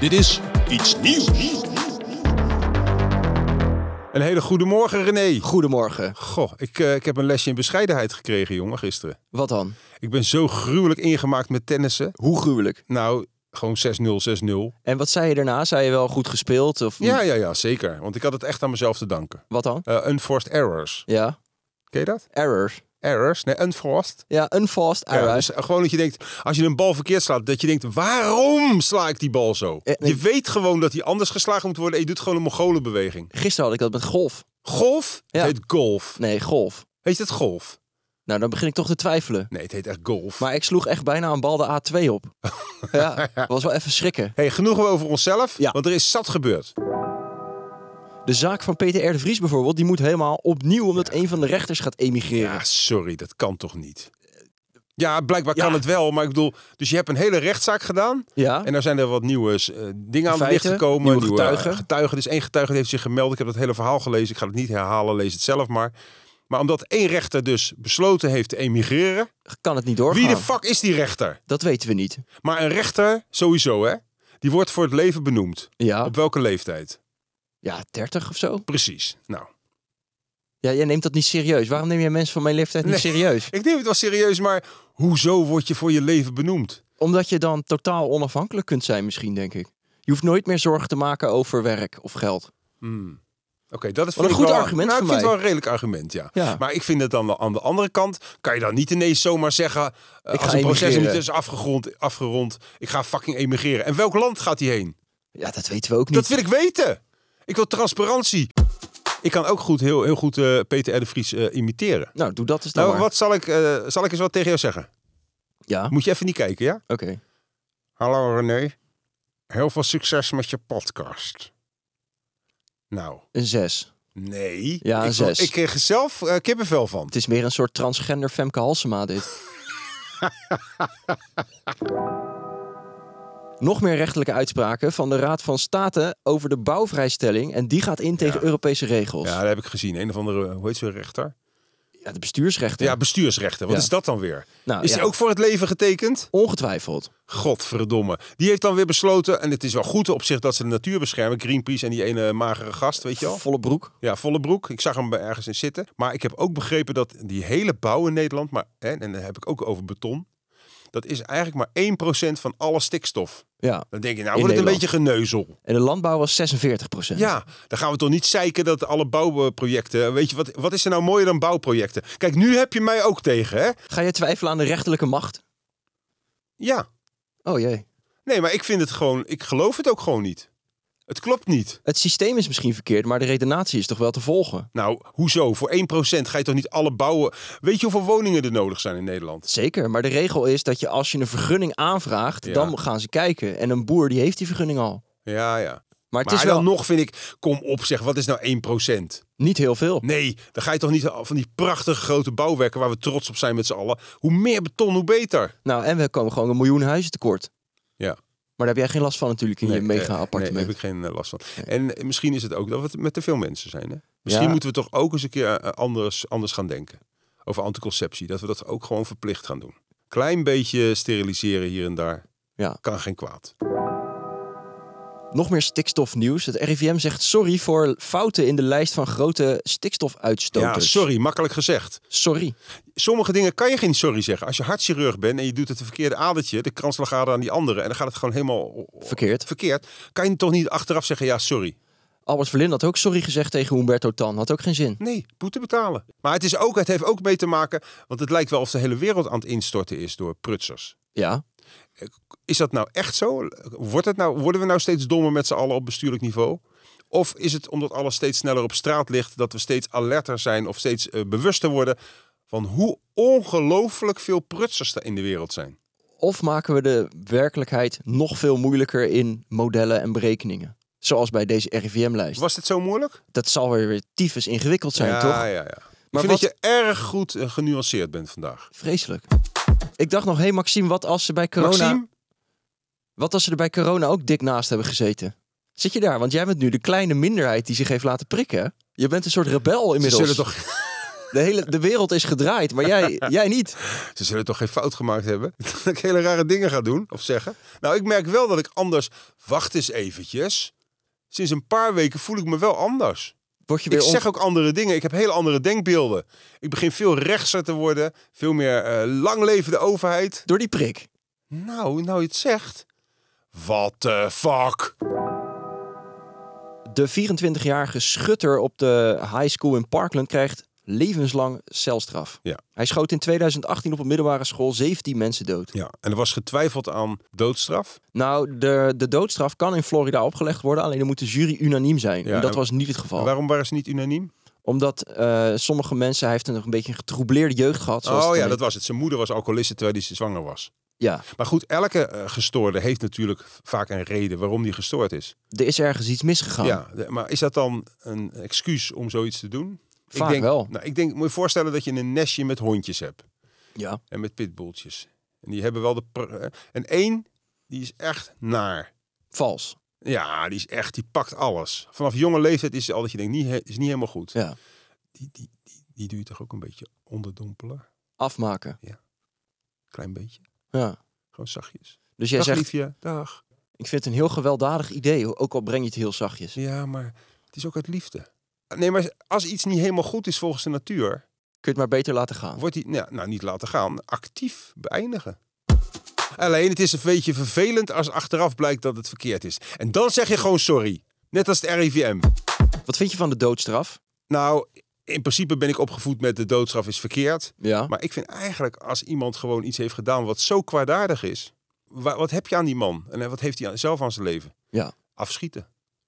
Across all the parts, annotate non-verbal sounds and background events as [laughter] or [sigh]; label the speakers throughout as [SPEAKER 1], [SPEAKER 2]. [SPEAKER 1] Dit is iets nieuws.
[SPEAKER 2] Een hele goede morgen, René.
[SPEAKER 3] Goedemorgen.
[SPEAKER 2] Goh, ik, eh, ik heb een lesje in bescheidenheid gekregen, jongen, gisteren.
[SPEAKER 3] Wat dan?
[SPEAKER 2] Ik ben zo gruwelijk ingemaakt met tennissen.
[SPEAKER 3] Hoe gruwelijk.
[SPEAKER 2] Nou, gewoon 6-0, 6-0.
[SPEAKER 3] En wat zei je daarna? Zei je wel goed gespeeld? Of
[SPEAKER 2] Ja, ja, ja, zeker. Want ik had het echt aan mezelf te danken.
[SPEAKER 3] wat dan?
[SPEAKER 2] Eh, unforced errors.
[SPEAKER 3] Ja.
[SPEAKER 2] Ken je dat?
[SPEAKER 3] Errors.
[SPEAKER 2] Errors? Nee, unforced.
[SPEAKER 3] Ja, unforced
[SPEAKER 2] Ja,
[SPEAKER 3] errors.
[SPEAKER 2] dus gewoon dat je denkt, als je een bal verkeerd slaat, dat je denkt, waarom sla ik die bal zo?
[SPEAKER 3] Eh, nee.
[SPEAKER 2] Je weet gewoon dat die anders geslagen moet worden en je doet gewoon een mongolenbeweging.
[SPEAKER 3] Gisteren had ik dat met golf.
[SPEAKER 2] Golf?
[SPEAKER 3] Ja.
[SPEAKER 2] Het heet golf.
[SPEAKER 3] Nee, golf.
[SPEAKER 2] Heet het golf?
[SPEAKER 3] Nou, dan begin ik toch te twijfelen.
[SPEAKER 2] Nee, het heet echt golf.
[SPEAKER 3] Maar ik sloeg echt bijna een bal de A2
[SPEAKER 2] [laughs]
[SPEAKER 3] op. ja, was wel even schrikken.
[SPEAKER 2] Hey, genoeg over onszelf,
[SPEAKER 3] Ja.
[SPEAKER 2] want er is zat gebeurd.
[SPEAKER 3] De zaak van Peter R. de Vries bijvoorbeeld, die moet helemaal opnieuw omdat een van de rechters gaat emigreren.
[SPEAKER 2] Ja, sorry, dat kan toch niet? Ja, blijkbaar
[SPEAKER 3] Ja.
[SPEAKER 2] kan het wel, maar ik bedoel, dus je hebt een hele rechtszaak gedaan.
[SPEAKER 3] Ja?
[SPEAKER 2] En daar zijn er wat nieuwe eh, dingen aan het licht
[SPEAKER 3] Feiten,
[SPEAKER 2] gekomen.
[SPEAKER 3] nieuwe getuigen.
[SPEAKER 2] eh, getuigen. Dus één getuige heeft zich gemeld. Ik heb dat hele verhaal gelezen. Ik ga het niet herhalen, lees het zelf maar. Maar omdat één rechter dus besloten heeft te emigreren.
[SPEAKER 3] Kan het niet doorgaan?
[SPEAKER 2] Wie de fuck is die rechter?
[SPEAKER 3] Dat weten we niet.
[SPEAKER 2] Maar een rechter, sowieso hè, die wordt voor het leven benoemd.
[SPEAKER 3] Ja.
[SPEAKER 2] Op welke leeftijd?
[SPEAKER 3] ja, 30 of zo?
[SPEAKER 2] Precies. Nou,
[SPEAKER 3] Ja, jij neemt dat niet serieus. Waarom neem jij mensen van mijn leeftijd niet
[SPEAKER 2] Nee.
[SPEAKER 3] serieus?
[SPEAKER 2] ik neem het wel serieus, maar hoezo word je voor je leven benoemd?
[SPEAKER 3] Omdat je dan totaal onafhankelijk kunt zijn misschien, denk ik. Je hoeft nooit meer zorgen te maken over werk of geld.
[SPEAKER 2] Hmm. Oké, dat is
[SPEAKER 3] Wat
[SPEAKER 2] vind
[SPEAKER 3] een
[SPEAKER 2] ik
[SPEAKER 3] goed
[SPEAKER 2] wel-
[SPEAKER 3] argument
[SPEAKER 2] Nou,
[SPEAKER 3] voor
[SPEAKER 2] ik vind het
[SPEAKER 3] mij.
[SPEAKER 2] wel een redelijk argument, ja.
[SPEAKER 3] Ja.
[SPEAKER 2] Maar ik vind het dan wel- aan de andere kant kan je dan niet ineens zomaar zeggen eh,
[SPEAKER 3] ga
[SPEAKER 2] als een proces nog niet
[SPEAKER 3] emigreren.
[SPEAKER 2] is afgerond, afgerond, ik ga fucking emigreren. En welk land gaat hij heen?
[SPEAKER 3] Ja, dat weten we ook niet.
[SPEAKER 2] Dat wil ik weten. Ik wil transparantie. Ik kan ook goed, heel, heel goed eh, Peter R. de Vries eh, imiteren.
[SPEAKER 3] Nou, doe dat eens dan
[SPEAKER 2] Nou,
[SPEAKER 3] maar.
[SPEAKER 2] wat zal ik, eh, zal ik eens wat tegen jou zeggen?
[SPEAKER 3] Ja, oké.
[SPEAKER 2] Moet je even niet kijken, ja? Hallo René. Heel veel succes met je podcast. Nou,
[SPEAKER 3] Een zes.
[SPEAKER 2] nee.
[SPEAKER 3] Ja,
[SPEAKER 2] ik,
[SPEAKER 3] een
[SPEAKER 2] wil-
[SPEAKER 3] zes.
[SPEAKER 2] Ik kreeg er zelf eh, kippenvel van.
[SPEAKER 3] Het is meer een soort transgender Femke
[SPEAKER 2] [laughs]
[SPEAKER 3] Halsema dit. Nog meer rechtelijke uitspraken van de Raad van State over de bouwvrijstelling. En die gaat in tegen Europese regels.
[SPEAKER 2] Ja,
[SPEAKER 3] Ja,
[SPEAKER 2] dat heb ik gezien. Een of andere, hoe heet ze, rechter?
[SPEAKER 3] de bestuursrechter.
[SPEAKER 2] Ja, Ah, bestuursrechten. Wat
[SPEAKER 3] Ja.
[SPEAKER 2] is dat dan weer?
[SPEAKER 3] Nou,
[SPEAKER 2] is
[SPEAKER 3] ja.
[SPEAKER 2] die ook voor het leven getekend?
[SPEAKER 3] Ongetwijfeld.
[SPEAKER 2] Godverdomme. Die heeft dan weer besloten, en het is wel goed op zich dat ze de natuur beschermen. Greenpeace en die ene magere gast, weet je wel?
[SPEAKER 3] Volle broek.
[SPEAKER 2] Ja, volle broek. Ik zag hem bij- ergens in zitten. Maar ik heb ook begrepen dat die hele bouw in Nederland, maar, hè, en dan heb ik ook over beton, dat is eigenlijk maar 1% van alle stikstof.
[SPEAKER 3] Ja.
[SPEAKER 2] Dan denk je, nou
[SPEAKER 3] In
[SPEAKER 2] wordt het een beetje
[SPEAKER 3] Nederland.
[SPEAKER 2] geneuzel.
[SPEAKER 3] En de landbouw was 46 procent.
[SPEAKER 2] Ja, dan gaan we toch niet zeiken dat alle bouwprojecten... Weet je, wat, wat is er nou mooier dan bouwprojecten? Kijk, nu heb je mij ook tegen, hè?
[SPEAKER 3] Ga je twijfelen aan de rechterlijke macht?
[SPEAKER 2] Ja.
[SPEAKER 3] Oh jee.
[SPEAKER 2] Nee, maar ik vind het gewoon, ik geloof het ook gewoon niet. Het klopt niet.
[SPEAKER 3] Het systeem is misschien verkeerd, maar de redenatie is toch wel te volgen?
[SPEAKER 2] Nou, hoezo? Voor 1% ga je toch niet alle bouwen? Weet je hoeveel woningen er nodig zijn in Nederland?
[SPEAKER 3] Zeker, maar de regel is dat je als je een vergunning aanvraagt,
[SPEAKER 2] Ja.
[SPEAKER 3] dan gaan ze kijken. En een boer die heeft die vergunning al.
[SPEAKER 2] Ja, ja.
[SPEAKER 3] Maar het
[SPEAKER 2] maar
[SPEAKER 3] is
[SPEAKER 2] dan
[SPEAKER 3] wel
[SPEAKER 2] nog vind ik, kom op zeg, wat is nou 1%?
[SPEAKER 3] niet heel veel.
[SPEAKER 2] Nee, dan ga je toch niet van die prachtige grote bouwwerken waar we trots op zijn met z'n allen. Hoe meer beton, hoe beter.
[SPEAKER 3] Nou, en we komen gewoon een miljoen huizen tekort.
[SPEAKER 2] Ja.
[SPEAKER 3] Maar daar heb jij geen last van natuurlijk in je
[SPEAKER 2] Nee,
[SPEAKER 3] mega-appartement.
[SPEAKER 2] daar heb ik geen eh, last van. En eh, misschien is het ook dat we het met te veel mensen zijn. Hè? Misschien
[SPEAKER 3] Ja.
[SPEAKER 2] moeten we toch ook eens een keer eh, anders, anders gaan denken. Over anticonceptie. Dat we dat ook gewoon verplicht gaan doen. Klein beetje steriliseren hier en daar.
[SPEAKER 3] Ja.
[SPEAKER 2] Kan geen kwaad.
[SPEAKER 3] Nog meer stikstofnieuws. Het RIVM zegt sorry voor fouten in de lijst van grote stikstofuitstoters.
[SPEAKER 2] Ja, sorry, makkelijk gezegd.
[SPEAKER 3] Sorry.
[SPEAKER 2] Sommige dingen kan je geen sorry zeggen. Als je hartchirurg bent en je doet het verkeerde adertje, de kransslagader aan die andere, en dan gaat het gewoon helemaal
[SPEAKER 3] Verkeerd.
[SPEAKER 2] verkeerd, kan je toch niet achteraf zeggen, ja, sorry.
[SPEAKER 3] Albert Verlin had ook sorry gezegd tegen Humberto Tan. Had ook geen zin.
[SPEAKER 2] Nee, boete betalen. Maar het, is ook, het heeft ook mee te maken, want het lijkt wel of de hele wereld aan het instorten is door prutsers.
[SPEAKER 3] Ja.
[SPEAKER 2] Is dat nou echt zo? Wordt het nou, worden we nou steeds dommer met z'n allen op bestuurlijk niveau? Of is het omdat alles steeds sneller op straat ligt, dat we steeds alerter zijn of steeds eh, bewuster worden van hoe ongelooflijk veel prutsers er in de wereld zijn?
[SPEAKER 3] Of maken we de werkelijkheid nog veel moeilijker in modellen en berekeningen? Zoals bij deze RIVM-lijst.
[SPEAKER 2] Was dit zo moeilijk?
[SPEAKER 3] Dat zal weer weer tyfus ingewikkeld zijn,
[SPEAKER 2] ja,
[SPEAKER 3] toch?
[SPEAKER 2] ja, ja. Ik
[SPEAKER 3] Maar
[SPEAKER 2] vind
[SPEAKER 3] wat-
[SPEAKER 2] dat je erg goed eh, genuanceerd bent vandaag.
[SPEAKER 3] Vreselijk. Ik dacht nog, hé hey Maxime, wat als ze bij corona...
[SPEAKER 2] Maxime?
[SPEAKER 3] Wat als ze er bij corona ook dik naast hebben gezeten? Zit je daar? Want jij bent nu de kleine minderheid die zich heeft laten prikken. Je bent een soort rebel
[SPEAKER 2] Ze
[SPEAKER 3] inmiddels.
[SPEAKER 2] zullen toch
[SPEAKER 3] De, hele, de wereld is gedraaid, maar
[SPEAKER 2] [laughs]
[SPEAKER 3] jij, jij niet.
[SPEAKER 2] Ze zullen toch geen fout gemaakt hebben? [laughs] Dat ik hele rare dingen ga doen of zeggen. Nou, ik merk wel dat ik anders. Wacht eens eventjes. Sinds een paar weken voel ik me wel anders.
[SPEAKER 3] Word je weer
[SPEAKER 2] Ik
[SPEAKER 3] on-
[SPEAKER 2] zeg ook andere dingen. Ik heb hele andere denkbeelden. Ik begin veel rechtser te worden. Veel meer eh, lang leven de overheid.
[SPEAKER 3] door die prik.
[SPEAKER 2] Nou, nou je het zegt. What the fuck?
[SPEAKER 3] De 24-jarige schutter op de high school in Parkland krijgt levenslang celstraf.
[SPEAKER 2] Ja.
[SPEAKER 3] Hij schoot in 2018 op een middelbare school 17 mensen dood.
[SPEAKER 2] Ja, en er was getwijfeld aan doodstraf.
[SPEAKER 3] Nou, de, de doodstraf kan in Florida opgelegd worden, alleen dan moet de jury unaniem zijn.
[SPEAKER 2] Ja,
[SPEAKER 3] en dat
[SPEAKER 2] en-
[SPEAKER 3] was niet het geval.
[SPEAKER 2] Waarom waren ze niet unaniem?
[SPEAKER 3] Omdat eh, sommige mensen, hij heeft een, een beetje een getroubleerde jeugd gehad. Zoals
[SPEAKER 2] Oh
[SPEAKER 3] het
[SPEAKER 2] ja,
[SPEAKER 3] dan
[SPEAKER 2] dat
[SPEAKER 3] heet.
[SPEAKER 2] was het. Zijn moeder was alcoholiste terwijl hij zwanger was.
[SPEAKER 3] ja,
[SPEAKER 2] Maar goed, elke eh, gestoorde heeft natuurlijk vaak een reden waarom die gestoord is.
[SPEAKER 3] er is ergens iets misgegaan.
[SPEAKER 2] Ja, de- maar is dat dan een excuus om zoiets te doen?
[SPEAKER 3] Vaak
[SPEAKER 2] ik denk,
[SPEAKER 3] wel.
[SPEAKER 2] Nou, ik denk, moet je voorstellen dat je een nestje met hondjes hebt
[SPEAKER 3] Ja.
[SPEAKER 2] en met pitbulltjes. En die hebben wel de... pr- eh, En één, die is echt naar.
[SPEAKER 3] Vals.
[SPEAKER 2] Ja, die is echt, die pakt alles. Vanaf jonge leeftijd is het al dat je denkt, niet, he- is niet helemaal goed.
[SPEAKER 3] Ja.
[SPEAKER 2] Die, die, die, die doe je toch ook een beetje onderdompelen?
[SPEAKER 3] Afmaken.
[SPEAKER 2] Klein beetje.
[SPEAKER 3] Ja.
[SPEAKER 2] Gewoon zachtjes.
[SPEAKER 3] Dus jij
[SPEAKER 2] Dag
[SPEAKER 3] zegt,
[SPEAKER 2] liefje, dag.
[SPEAKER 3] ik vind het een heel gewelddadig idee, ook al breng je het heel zachtjes.
[SPEAKER 2] Ja, maar het is ook uit liefde. Nee, maar als iets niet helemaal goed is volgens de natuur,
[SPEAKER 3] Kun je het maar beter laten gaan.
[SPEAKER 2] wordt die, nou, nou niet laten gaan, actief beëindigen. Alleen het is een beetje vervelend als achteraf blijkt dat het verkeerd is. En dan zeg je gewoon sorry. Net als het RIVM.
[SPEAKER 3] Wat vind je van de doodstraf?
[SPEAKER 2] Nou, in principe ben ik opgevoed met de doodstraf is verkeerd.
[SPEAKER 3] Ja.
[SPEAKER 2] Maar ik vind eigenlijk als iemand gewoon iets heeft gedaan wat zo kwaadaardig is. wa- wat heb je aan die man? En eh, wat heeft hij aan- zelf aan zijn leven?
[SPEAKER 3] Ja.
[SPEAKER 2] Afschieten.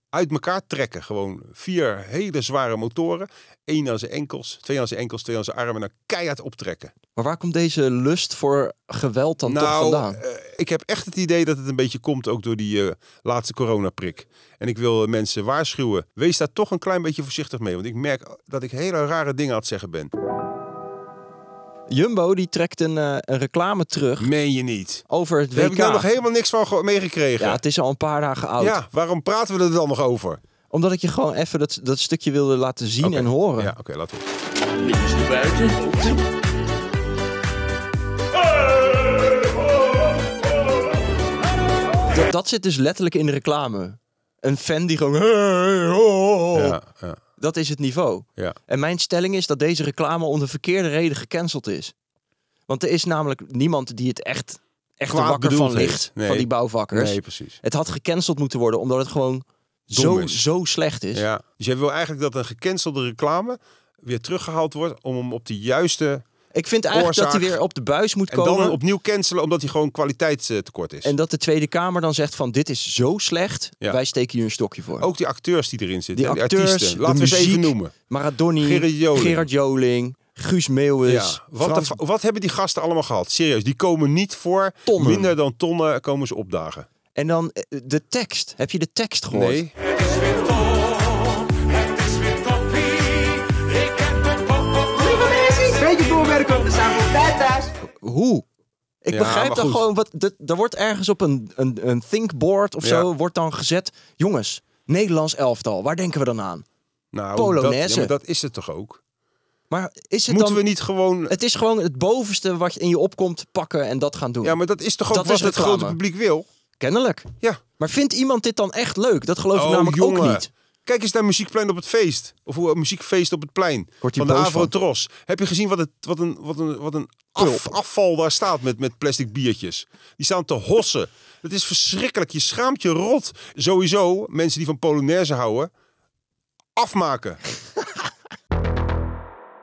[SPEAKER 2] Uit elkaar trekken. Gewoon vier hele zware motoren. Eén aan zijn enkels, twee aan zijn enkels, twee aan zijn armen. En dan keihard optrekken.
[SPEAKER 3] Maar waar komt deze lust voor geweld dan toch
[SPEAKER 2] nou,
[SPEAKER 3] vandaan?
[SPEAKER 2] eh, ik heb echt het idee dat het een beetje komt ook door die eh, laatste coronaprik. En ik wil eh, mensen waarschuwen. Wees daar toch een klein beetje voorzichtig mee. Want ik merk dat ik hele rare dingen aan het zeggen ben.
[SPEAKER 3] Jumbo die trekt een, eh, een reclame terug
[SPEAKER 2] Meen je niet?
[SPEAKER 3] over het
[SPEAKER 2] Daar heb
[SPEAKER 3] WK.
[SPEAKER 2] ik nou nog helemaal niks van ge- meegekregen.
[SPEAKER 3] ja, het is al een paar dagen oud.
[SPEAKER 2] Ja, waarom praten we er dan nog over?
[SPEAKER 3] Omdat ik je gewoon even dat, dat stukje wilde laten zien
[SPEAKER 2] Oké.
[SPEAKER 3] en horen.
[SPEAKER 2] Ja, oké, laten we.
[SPEAKER 1] Links naar buiten.
[SPEAKER 3] Dat, dat zit dus letterlijk in de reclame. Een fan die gewoon... "Hey, oh."
[SPEAKER 2] Ja, ja,
[SPEAKER 3] Dat is het niveau.
[SPEAKER 2] ja.
[SPEAKER 3] En mijn stelling is dat deze reclame om de verkeerde reden gecanceld is. Want er is namelijk niemand die het echt, echt er
[SPEAKER 2] Kwaad
[SPEAKER 3] wakker
[SPEAKER 2] bedoeld
[SPEAKER 3] van ligt.
[SPEAKER 2] heeft. Nee.
[SPEAKER 3] Van die bouwvakkers.
[SPEAKER 2] Nee, precies.
[SPEAKER 3] Het had gecanceld moeten worden omdat het gewoon zo,
[SPEAKER 2] is.
[SPEAKER 3] zo slecht is.
[SPEAKER 2] Ja. Dus jij wil eigenlijk dat een gecancelde reclame weer teruggehaald wordt om hem op de juiste...
[SPEAKER 3] Ik vind eigenlijk dat hij
[SPEAKER 2] Oorzaak.
[SPEAKER 3] weer op de buis moet
[SPEAKER 2] En dan
[SPEAKER 3] komen.
[SPEAKER 2] opnieuw cancelen omdat hij gewoon kwaliteitstekort is.
[SPEAKER 3] En dat de Tweede Kamer dan zegt van dit is zo slecht,
[SPEAKER 2] Ja. Oh.
[SPEAKER 3] wij steken hier een stokje voor.
[SPEAKER 2] Ook die acteurs die erin zitten.
[SPEAKER 3] Die
[SPEAKER 2] hè,
[SPEAKER 3] acteurs,
[SPEAKER 2] artiesten.
[SPEAKER 3] de
[SPEAKER 2] Laten we ze
[SPEAKER 3] muziek.
[SPEAKER 2] even noemen.
[SPEAKER 3] Maradoni,
[SPEAKER 2] Gerard Joling.
[SPEAKER 3] Gerard Joling, Guus Meeuwis,
[SPEAKER 2] ja. wat,
[SPEAKER 3] Frans-
[SPEAKER 2] de fa- wat hebben die gasten allemaal gehad? Serieus, die komen niet voor.
[SPEAKER 3] Tonnen.
[SPEAKER 2] Minder dan tonnen komen ze opdagen.
[SPEAKER 3] En dan eh, de tekst. Heb je de tekst gehoord?
[SPEAKER 2] Nee.
[SPEAKER 4] Beetje doorwerken, want we zijn op tijd thuis.
[SPEAKER 3] Hoe? Ik
[SPEAKER 2] Ja,
[SPEAKER 3] begrijp
[SPEAKER 2] maar
[SPEAKER 3] dan
[SPEAKER 2] goed.
[SPEAKER 3] gewoon, wat, dat, daar wordt ergens op een, een, een thinkboard of
[SPEAKER 2] Ja.
[SPEAKER 3] zo, wordt dan gezet. Jongens, Nederlands elftal, waar denken we dan aan?
[SPEAKER 2] Nou,
[SPEAKER 3] Polonaise.
[SPEAKER 2] Dat, ja, maar dat is het toch ook?
[SPEAKER 3] Maar is het
[SPEAKER 2] Moeten
[SPEAKER 3] dan...
[SPEAKER 2] we niet gewoon...
[SPEAKER 3] Het is gewoon het bovenste wat je in je opkomt pakken en dat gaan doen.
[SPEAKER 2] Ja, maar dat is toch ook
[SPEAKER 3] Dat
[SPEAKER 2] wat
[SPEAKER 3] is
[SPEAKER 2] het
[SPEAKER 3] reclame.
[SPEAKER 2] grote publiek wil?
[SPEAKER 3] Kennelijk.
[SPEAKER 2] Ja.
[SPEAKER 3] Maar vindt iemand dit dan echt leuk? Dat geloof ik namelijk ook
[SPEAKER 2] Oh, jongen.
[SPEAKER 3] niet.
[SPEAKER 2] Kijk eens naar muziekplein op het feest. Of hoe een muziekfeest op het plein.
[SPEAKER 3] Wordt hier
[SPEAKER 2] van de
[SPEAKER 3] boos
[SPEAKER 2] Avro
[SPEAKER 3] van.
[SPEAKER 2] Tros. Heb je gezien wat, het, wat een, wat een, wat een af- afval daar staat met, met plastic biertjes? Die staan te hossen. Het is verschrikkelijk. Je schaamt je rot. Sowieso, mensen die van Polonaise houden, afmaken.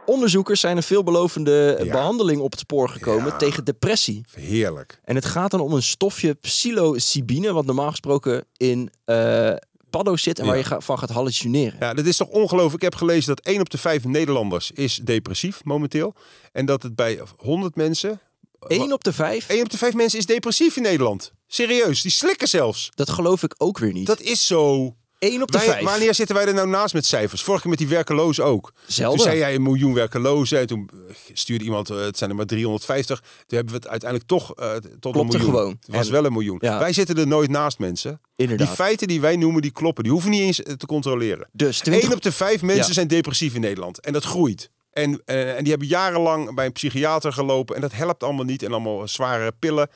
[SPEAKER 3] Onderzoekers zijn een veelbelovende eh,
[SPEAKER 2] Ja.
[SPEAKER 3] behandeling op het spoor gekomen
[SPEAKER 2] Ja.
[SPEAKER 3] tegen depressie.
[SPEAKER 2] Heerlijk.
[SPEAKER 3] En het gaat dan om een stofje psilocybine, wat normaal gesproken in eh paddo's zit en waar
[SPEAKER 2] Ja.
[SPEAKER 3] je ga- van gaat hallucineren.
[SPEAKER 2] Ja, dat is toch ongelooflijk. Ik heb gelezen dat 1 op de 5 Nederlanders is depressief momenteel. En dat het bij 100 mensen...
[SPEAKER 3] Eén op de vijf,
[SPEAKER 2] 1 op de 5 mensen is depressief in Nederland. Serieus, die slikken zelfs.
[SPEAKER 3] dat geloof ik ook weer niet.
[SPEAKER 2] Dat is zo.
[SPEAKER 3] Eén op de
[SPEAKER 2] Wij-
[SPEAKER 3] vijf.
[SPEAKER 2] wanneer zitten wij er nou naast met cijfers? Vorige keer met die werkelozen ook.
[SPEAKER 3] Zelden.
[SPEAKER 2] Toen zei jij een miljoen werkelozen. En toen eh, stuurde iemand, eh, het zijn er maar 350. Toen hebben we het uiteindelijk toch eh, tot
[SPEAKER 3] Klopte
[SPEAKER 2] een miljoen.
[SPEAKER 3] gewoon.
[SPEAKER 2] Het was
[SPEAKER 3] En-
[SPEAKER 2] wel een miljoen.
[SPEAKER 3] Ja.
[SPEAKER 2] Wij zitten er nooit naast mensen.
[SPEAKER 3] Inderdaad.
[SPEAKER 2] Die feiten die wij noemen, die kloppen. Die hoeven niet eens eh, te controleren.
[SPEAKER 3] Dus
[SPEAKER 2] 1
[SPEAKER 3] 20
[SPEAKER 2] op de vijf mensen
[SPEAKER 3] Ja.
[SPEAKER 2] zijn depressief in Nederland. En dat groeit. En, eh, en die hebben jarenlang bij een psychiater gelopen. En dat helpt allemaal niet. En allemaal zware pillen.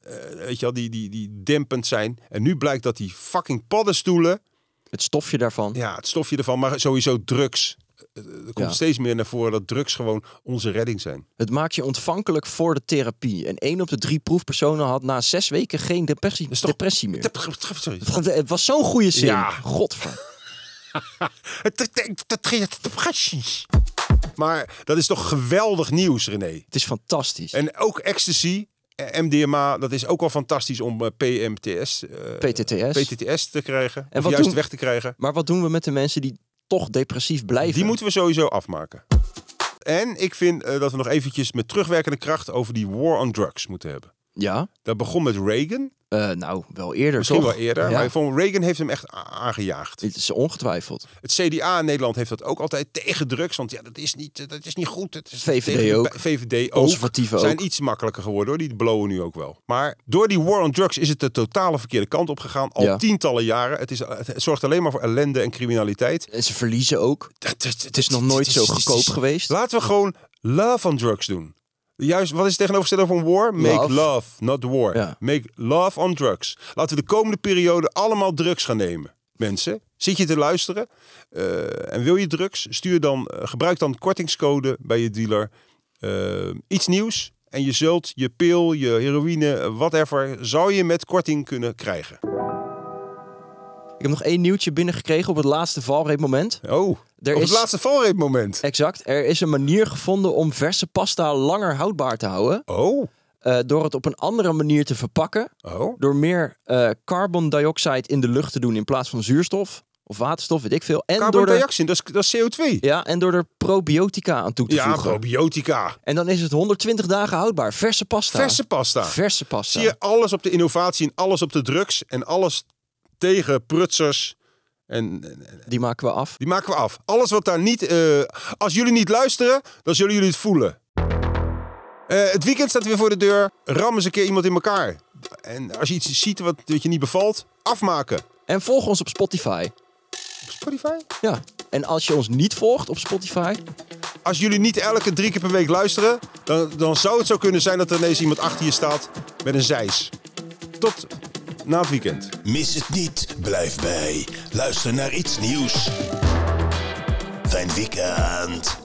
[SPEAKER 2] eh, weet je wel, die, die, die dempend zijn. En nu blijkt dat die fucking paddenstoelen.
[SPEAKER 3] Het stofje daarvan.
[SPEAKER 2] Ja, het stofje ervan. Maar sowieso drugs. Eh, Er komt
[SPEAKER 3] Ja.
[SPEAKER 2] steeds meer naar voren dat drugs gewoon onze redding zijn.
[SPEAKER 3] Het maakt je ontvankelijk voor de therapie. En één op de drie proefpersonen had na zes weken geen depressie,
[SPEAKER 2] is toch-
[SPEAKER 3] depressie meer. eh,
[SPEAKER 2] Sorry.
[SPEAKER 3] Het was zo'n goede zin.
[SPEAKER 2] Ja.
[SPEAKER 3] Godver.
[SPEAKER 2] Maar dat is toch geweldig nieuws, René?
[SPEAKER 3] Het is fantastisch.
[SPEAKER 2] En ook ecstasy, eh, MDMA, dat is ook al fantastisch om eh, PMTS, eh,
[SPEAKER 3] PTTS.
[SPEAKER 2] PTTS te krijgen.
[SPEAKER 3] En
[SPEAKER 2] of
[SPEAKER 3] wat
[SPEAKER 2] juist
[SPEAKER 3] doen-
[SPEAKER 2] weg te krijgen.
[SPEAKER 3] Maar wat doen we met de mensen die toch depressief blijven?
[SPEAKER 2] Die moeten we sowieso afmaken. En ik vind eh, dat we nog eventjes met terugwerkende kracht over die war on drugs moeten hebben.
[SPEAKER 3] Ja,
[SPEAKER 2] Dat begon met Reagan,
[SPEAKER 3] eh, nou, wel eerder
[SPEAKER 2] misschien
[SPEAKER 3] toch?
[SPEAKER 2] wel eerder.
[SPEAKER 3] Ja.
[SPEAKER 2] Maar van Reagan heeft hem echt a- aangejaagd.
[SPEAKER 3] Het is ongetwijfeld.
[SPEAKER 2] Het CDA in Nederland heeft dat ook altijd tegen drugs. Want ja, dat is niet, eh, dat is niet goed. Het is
[SPEAKER 3] VVD
[SPEAKER 2] tegen de
[SPEAKER 3] ook.
[SPEAKER 2] bij- VVD ook.
[SPEAKER 3] Conservatieven
[SPEAKER 2] zijn
[SPEAKER 3] ook.
[SPEAKER 2] iets makkelijker geworden hoor. Die blowen nu ook wel. Maar door die war on drugs is het de totale verkeerde kant op gegaan. Al
[SPEAKER 3] Ja.
[SPEAKER 2] tientallen jaren. Het, is, het zorgt alleen maar voor ellende en criminaliteit.
[SPEAKER 3] En ze verliezen ook. Het is nog nooit zo goedkoop geweest.
[SPEAKER 2] Dus Laten we gewoon love on drugs doen. Juist, wat is het tegenovergestelde van war? Make
[SPEAKER 3] Love.
[SPEAKER 2] love, not war.
[SPEAKER 3] Ja.
[SPEAKER 2] Make love on drugs. Laten we de komende periode allemaal drugs gaan nemen. Mensen, zit je te luisteren Eh, en wil je drugs? Stuur dan, eh, gebruik dan kortingscode bij je dealer. Eh, iets nieuws en je zult je pil, je heroïne, eh, whatever, zou je met korting kunnen krijgen.
[SPEAKER 3] Ik heb nog één nieuwtje binnengekregen op het laatste valreepmoment.
[SPEAKER 2] Oh,
[SPEAKER 3] Er
[SPEAKER 2] op
[SPEAKER 3] is-
[SPEAKER 2] het laatste valreepmoment.
[SPEAKER 3] Exact. Er is een manier gevonden om verse pasta langer houdbaar te houden.
[SPEAKER 2] Oh,
[SPEAKER 3] eh, door het op een andere manier te verpakken.
[SPEAKER 2] oh.
[SPEAKER 3] Door meer eh carbon dioxide in de lucht te doen in plaats van zuurstof. Of waterstof, weet ik veel. En
[SPEAKER 2] Carbon
[SPEAKER 3] door er,
[SPEAKER 2] dioxide, dat is, dat is CO2.
[SPEAKER 3] ja, en door er probiotica aan toe te
[SPEAKER 2] Ja,
[SPEAKER 3] voegen.
[SPEAKER 2] probiotica.
[SPEAKER 3] En dan is het 120 dagen houdbaar. Verse pasta.
[SPEAKER 2] Verse pasta.
[SPEAKER 3] Verse pasta.
[SPEAKER 2] Zie je alles op de innovatie en alles op de drugs en alles tegen prutsers. En, en- en-
[SPEAKER 3] Die maken we af.
[SPEAKER 2] die maken we af. Alles wat daar niet. eh, als jullie niet luisteren, dan zullen jullie het voelen. Eh, het weekend staat weer voor de deur. Ram eens een keer iemand in elkaar. En als je iets ziet wat, wat je niet bevalt, afmaken.
[SPEAKER 3] En volg ons op Spotify.
[SPEAKER 2] Op Spotify?
[SPEAKER 3] Ja. En als je ons niet volgt op Spotify,
[SPEAKER 2] Als jullie niet elke drie keer per week luisteren, dan, dan zou het zo kunnen zijn dat er ineens iemand achter je staat met een zeis. Tot na het weekend.
[SPEAKER 5] Mis het niet, blijf bij. Luister naar iets nieuws. Fijn weekend.